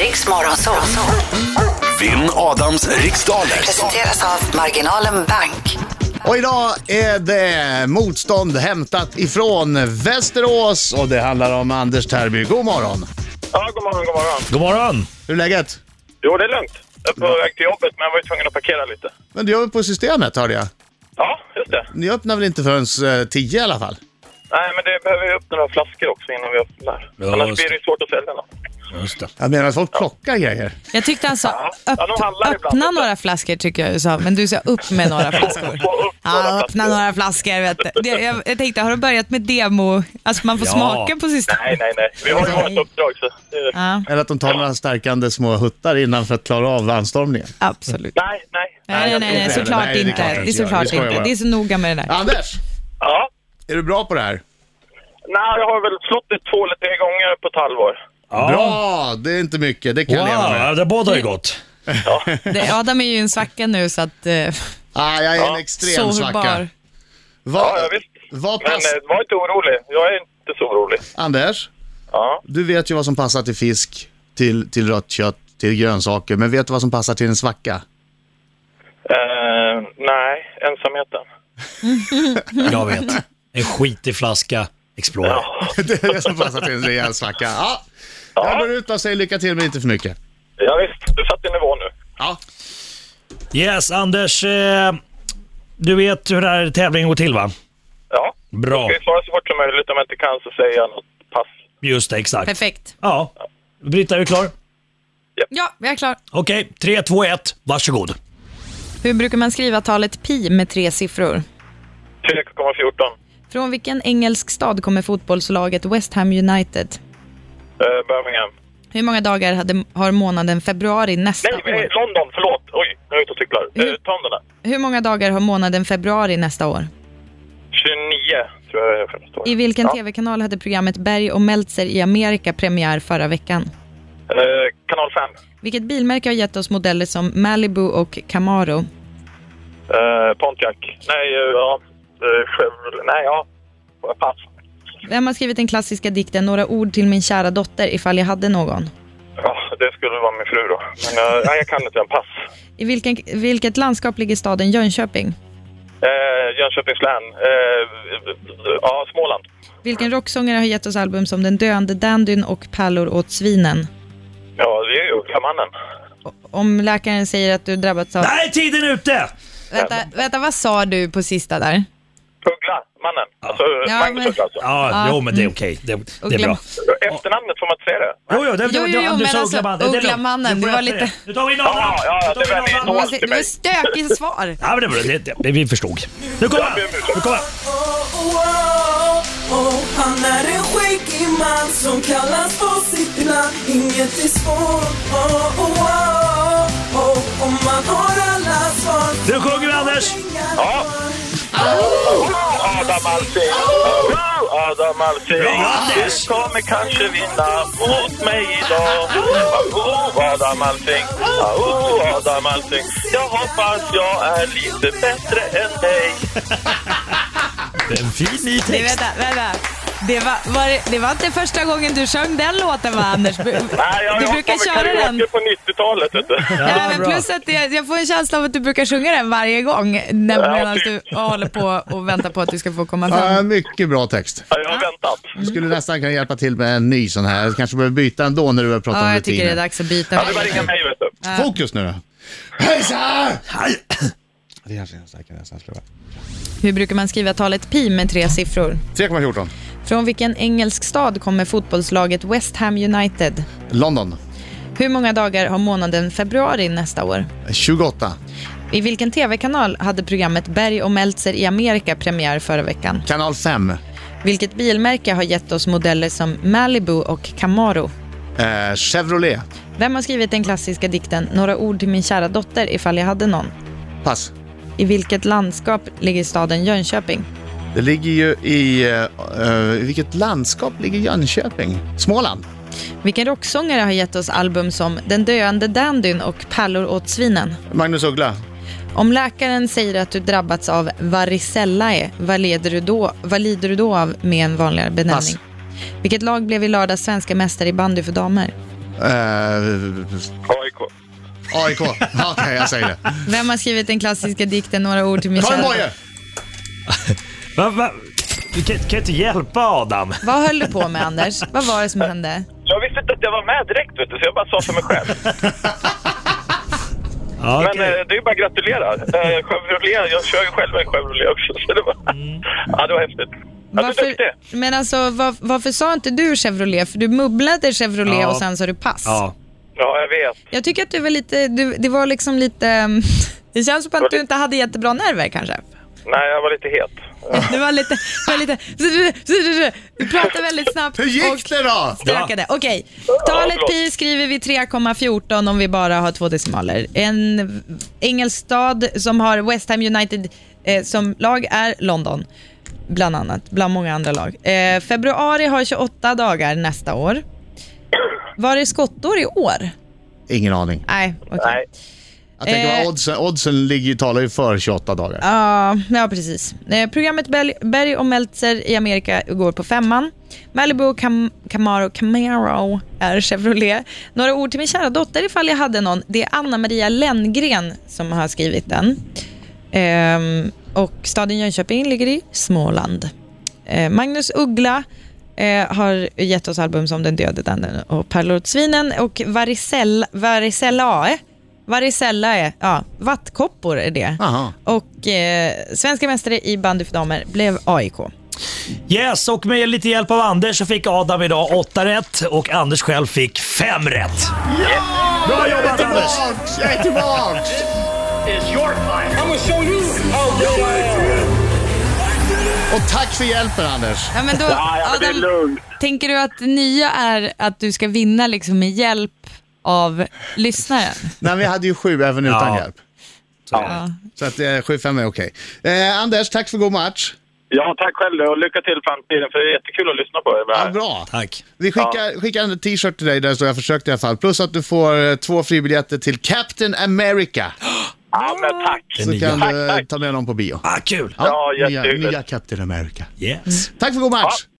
Riks Morgonzoo. Vinn Adams riksdaler. Presenteras av Marginalen Bank. Och idag är det motstånd hämtat ifrån Västerås och det handlar om Anders Terby. God morgon! Ja, god morgon, god morgon. God morgon! Hur är läget? Jo, det är lugnt. Jag är på väg till jobbet, men jag var ju tvungen att parkera lite. Men du jobbar på Systemet hörde jag. Ja, just det. Ni öppnar väl inte förrän eh, 10 i alla fall? Nej, men det behöver ju upp några flaskor också innan vi öppnar. Ja, Annars just blir det ju svårt att sälja något. Just det. Jag menar att folk plockar grejer. Jag tyckte alltså, Ja, de öpp, handlar ibland öppna lite. några flaskor tycker jag du sa, men du sa upp med några flaskor. Få upp några Ja, öppna flaskor. några flaskor. Vet du. Det, jag, jag tänkte, har du börjat med demo? Alltså man får Ja. smaka på systemet. Nej, nej, nej. Vi har ju vårt uppdrag, så... det är- Ja, Eller att de tar några stärkande små huttar innan för att klara av anstormningen. absolut. Nej, nej. Nej, nej, nej, inte nej heller. såklart Nej, det är klart inte. jag Det är inte gör. Vi såklart skojar inte. bara. Det är så noga med det där. Anders! Ja. Är du bra på det här? Nej, jag har väl slått det två eller tre gånger på ett halvår. Ja. Bra! Det är inte mycket, det kan Wow, jag leva med. ja, det bådar ju gott. Det, Adam är ju i en svacka nu så att... Eh, Ah, jag är en Ja. extrem svacka. sårbar. Vad, Ja, ja, visst. vad Men pass... eh, var inte orolig. Jag är inte så orolig. Anders? Ja. Du vet ju vad som passar till fisk, till, till rött kött, till grönsaker. Men vet du vad som passar till en svacka? Eh, nej, ensamheten. Jag vet. En skitig flaska Explorer. det är det som passar till en rejäl svacka. Ja. Jag går ut och säger lycka till men inte för mycket. Ja, visst, du satte nivå nu. Ja. Yes, Anders. Eh, du vet hur den här tävlingen går till va? Ja. Bra. Ska vi svara så fort som möjligt om jag inte kan så säger jag något pass. Just det, exakt. Perfekt. Ja. Britta, är du klar? Ja, vi är klar. Okej, tre, två, ett. Varsågod. Hur brukar man skriva talet pi med tre siffror? 3,14. Från vilken engelsk stad kommer fotbollslaget West Ham United? Eh, Birmingham. Hur många dagar hade, har månaden februari nästa Nej, eh, år? London, förlåt. Oj, nu är jag ute och cyklar. Hur? Eh, Tonderna. Hur många dagar har månaden februari nästa år? 29, tror jag jag förstår. I vilken ja. tv-kanal hade programmet Berg och Meltzer i Amerika premiär förra veckan? Eh, kanal 5. Vilket bilmärke har gett oss modeller som Malibu och Camaro? Eh, Pontiac. Nej, eh, ja. Eh, Chevrolet. Nej, ja. Pass. Vem har skrivit den klassiska dikten Några ord till min kära dotter ifall jag hade någon? Ja, det skulle vara min fru då. Men eh, nej, jag kan inte. En pass. I vilken, vilket landskap ligger staden Jönköping? Eh, Jönköpings län. Eh, ja, Småland. Vilken rocksångare har gett oss album som Den döende dandyn och Pärlor åt svinen? Ja, det är ju Ultramannen. O- Om läkaren säger att du drabbats av... Nej, tiden är ute! Vänta, vänta, vad sa du på sista där? Uggla, mannen. Alltså, Ja, Magnus men- Uggla alltså. Ja, Ja. jo men det är okej. Det, det är Uggla- bra. Efternamnet får man inte säga det. Jo, jo, det, det, Jo, jo, det, jo, du men sa alltså, Uggla-mannen. Det är lugnt. Uggla-mannen, Du får det var rätt för lite- Nu tar vi in Adam! Ja, ja, Nu tar det var vi in min Adam. idol. Det var stökigt svar. Ja, men det, var- det, det, vi förstod. Nu kommer han! Nu kommer han! Oh, Han är en skäggig man som kallas på sitt namn Inget är svårt oh, oh, oh, oh. Om man har alla svar Nu sjunger vi Anders! Ja. Adam Alsing! Adam Alsing! Anders! Du kommer kanske vinna mot mig idag Oh, Adam Alsing! Oh, Adam Alsing! Jag hoppas jag är lite bättre än dig Det är en fin ny Nej, text. vänta, vänta. Det var, var det, det var inte första gången du sjöng den låten va Anders? Nej, jag Du brukar hoppar med köra den. karaoke på 90-talet, vet du. Ja, men bra. plus att jag, jag får en känsla av att du brukar sjunga den varje gång när Ja, medan typ. du håller på och väntar på att du ska få komma Ah, fram. mycket bra text. Ja, Jag har väntat. Skulle nästan kunna hjälpa till med en ny sån här. Jag kanske behöver byta ändå när du börjar prata Ja, om jag tycker det är rutiner. dags att byta. Ja, det var ringa mig, vet du. Fokus nu då. Hejsan! Det kanske är en starkare än så här skulle Hur brukar man skriva talet pi med tre siffror? det vara. 3,14. Från vilken engelsk stad kommer fotbollslaget West Ham United? London. Hur många dagar har månaden februari nästa år? 28. I vilken tv-kanal hade programmet Berg och Meltzer i Amerika premiär förra veckan? Kanal 5. Vilket bilmärke har gett oss modeller som Malibu och Camaro? Eh, Chevrolet. Vem har skrivit den klassiska dikten Några ord till min kära dotter ifall jag hade någon? Pass. I vilket landskap ligger staden Jönköping? Det ligger ju i... eh, eh, vilket landskap ligger Jönköping? Småland. Vilken rocksångare har gett oss album som Den döende dandyn och Pärlor åt svinen? Magnus Uggla. Om läkaren säger att du drabbats av varicellae, vad, leder du då, vad lider du då av med en vanligare benämning? Pass. Vilket lag blev i lördags svenska mästare i bandy för damer? Eh, AIK. AIK. Ja, Okej, jag säger det. Vem har skrivit den klassiska dikten Några ord till min Karin kära? Boye! Va, va? Du kan, kan inte hjälpa Adam. Vad höll du på med Anders? Vad var det som hände? Jag visste inte att jag var med direkt, vet du, så jag bara sa för mig själv. Ja, Men okej. eh, det är bara att gratulera. Eh, Chevrolet, jag kör ju själv en Chevrolet också. Så det, var, Mm. ja, det var häftigt. Ja, du är duktig. men alltså, var, varför sa inte du Chevrolet? För du mubblade Chevrolet Ja. och sen sa du pass. Ja. Ja, jag vet. Jag tycker att du var lite, du, det var liksom lite, mm, det känns som att du inte hade jättebra nerver kanske. Nej, jag var lite het. Du var lite, du var lite, du pratade väldigt snabbt Hur och gick det då? stökade. Okej, talet pi skriver vi 3,14 om vi bara har två decimaler. En engelsk stad som har West Ham United eh, som lag är London, bland annat, bland många andra lag. Eh, februari har 28 dagar nästa år. Var det skottår i år? Ingen aning. Nej, okej. Nej. Jag tänker Eh. vad oddsen, oddsen ligger, talar ju för 28 dagar. Ja, ja precis. Eh, programmet Bel- Berg och Meltzer i Amerika går på femman. Malibu och Cam- Camaro, Camaro är Chevrolet. Några ord till min kära dotter ifall jag hade någon. Det är Anna Maria Lenngren som har skrivit den. Ehm, och staden Jönköping ligger i Småland. Eh, Magnus Uggla eh, har gett oss album som Den döde danden och Pärlor åt svinen och varicella, E. varicellae. Varicellae, E, ja, vattkoppor är det. Aha. Och eh, svenska mästare i bandy för damer blev AIK. Yes, och med lite hjälp av Anders så fick Adam idag 8 rätt och Anders själv fick 5 rätt. Bra jobbat Anders! Tillbaks! Jag är tillbaks! Och tack för hjälpen Anders. Ja, men då, Ja, ja, men det är Adam, lugnt. tänker du att nya är att du ska vinna liksom med hjälp av lyssnaren? Nej, vi hade ju sju även utan Ja. hjälp. Så att eh, 7-5 är okej. Eh, Anders, tack för god match. Ja, tack själv och lycka till i framtiden för det är jättekul att lyssna på er. Ja, bra. Tack. Vi skickar, skickar en t-shirt till dig där det står jag försökte i alla fall. Plus att du får eh, två fribiljetter till Captain America. Ja, men tack. Så kan Tack, du eh, tack. ta med dem på bio. Ah, kul! Ja, nya, jätteroligt. nya Captain America. Yes. Tack för god match.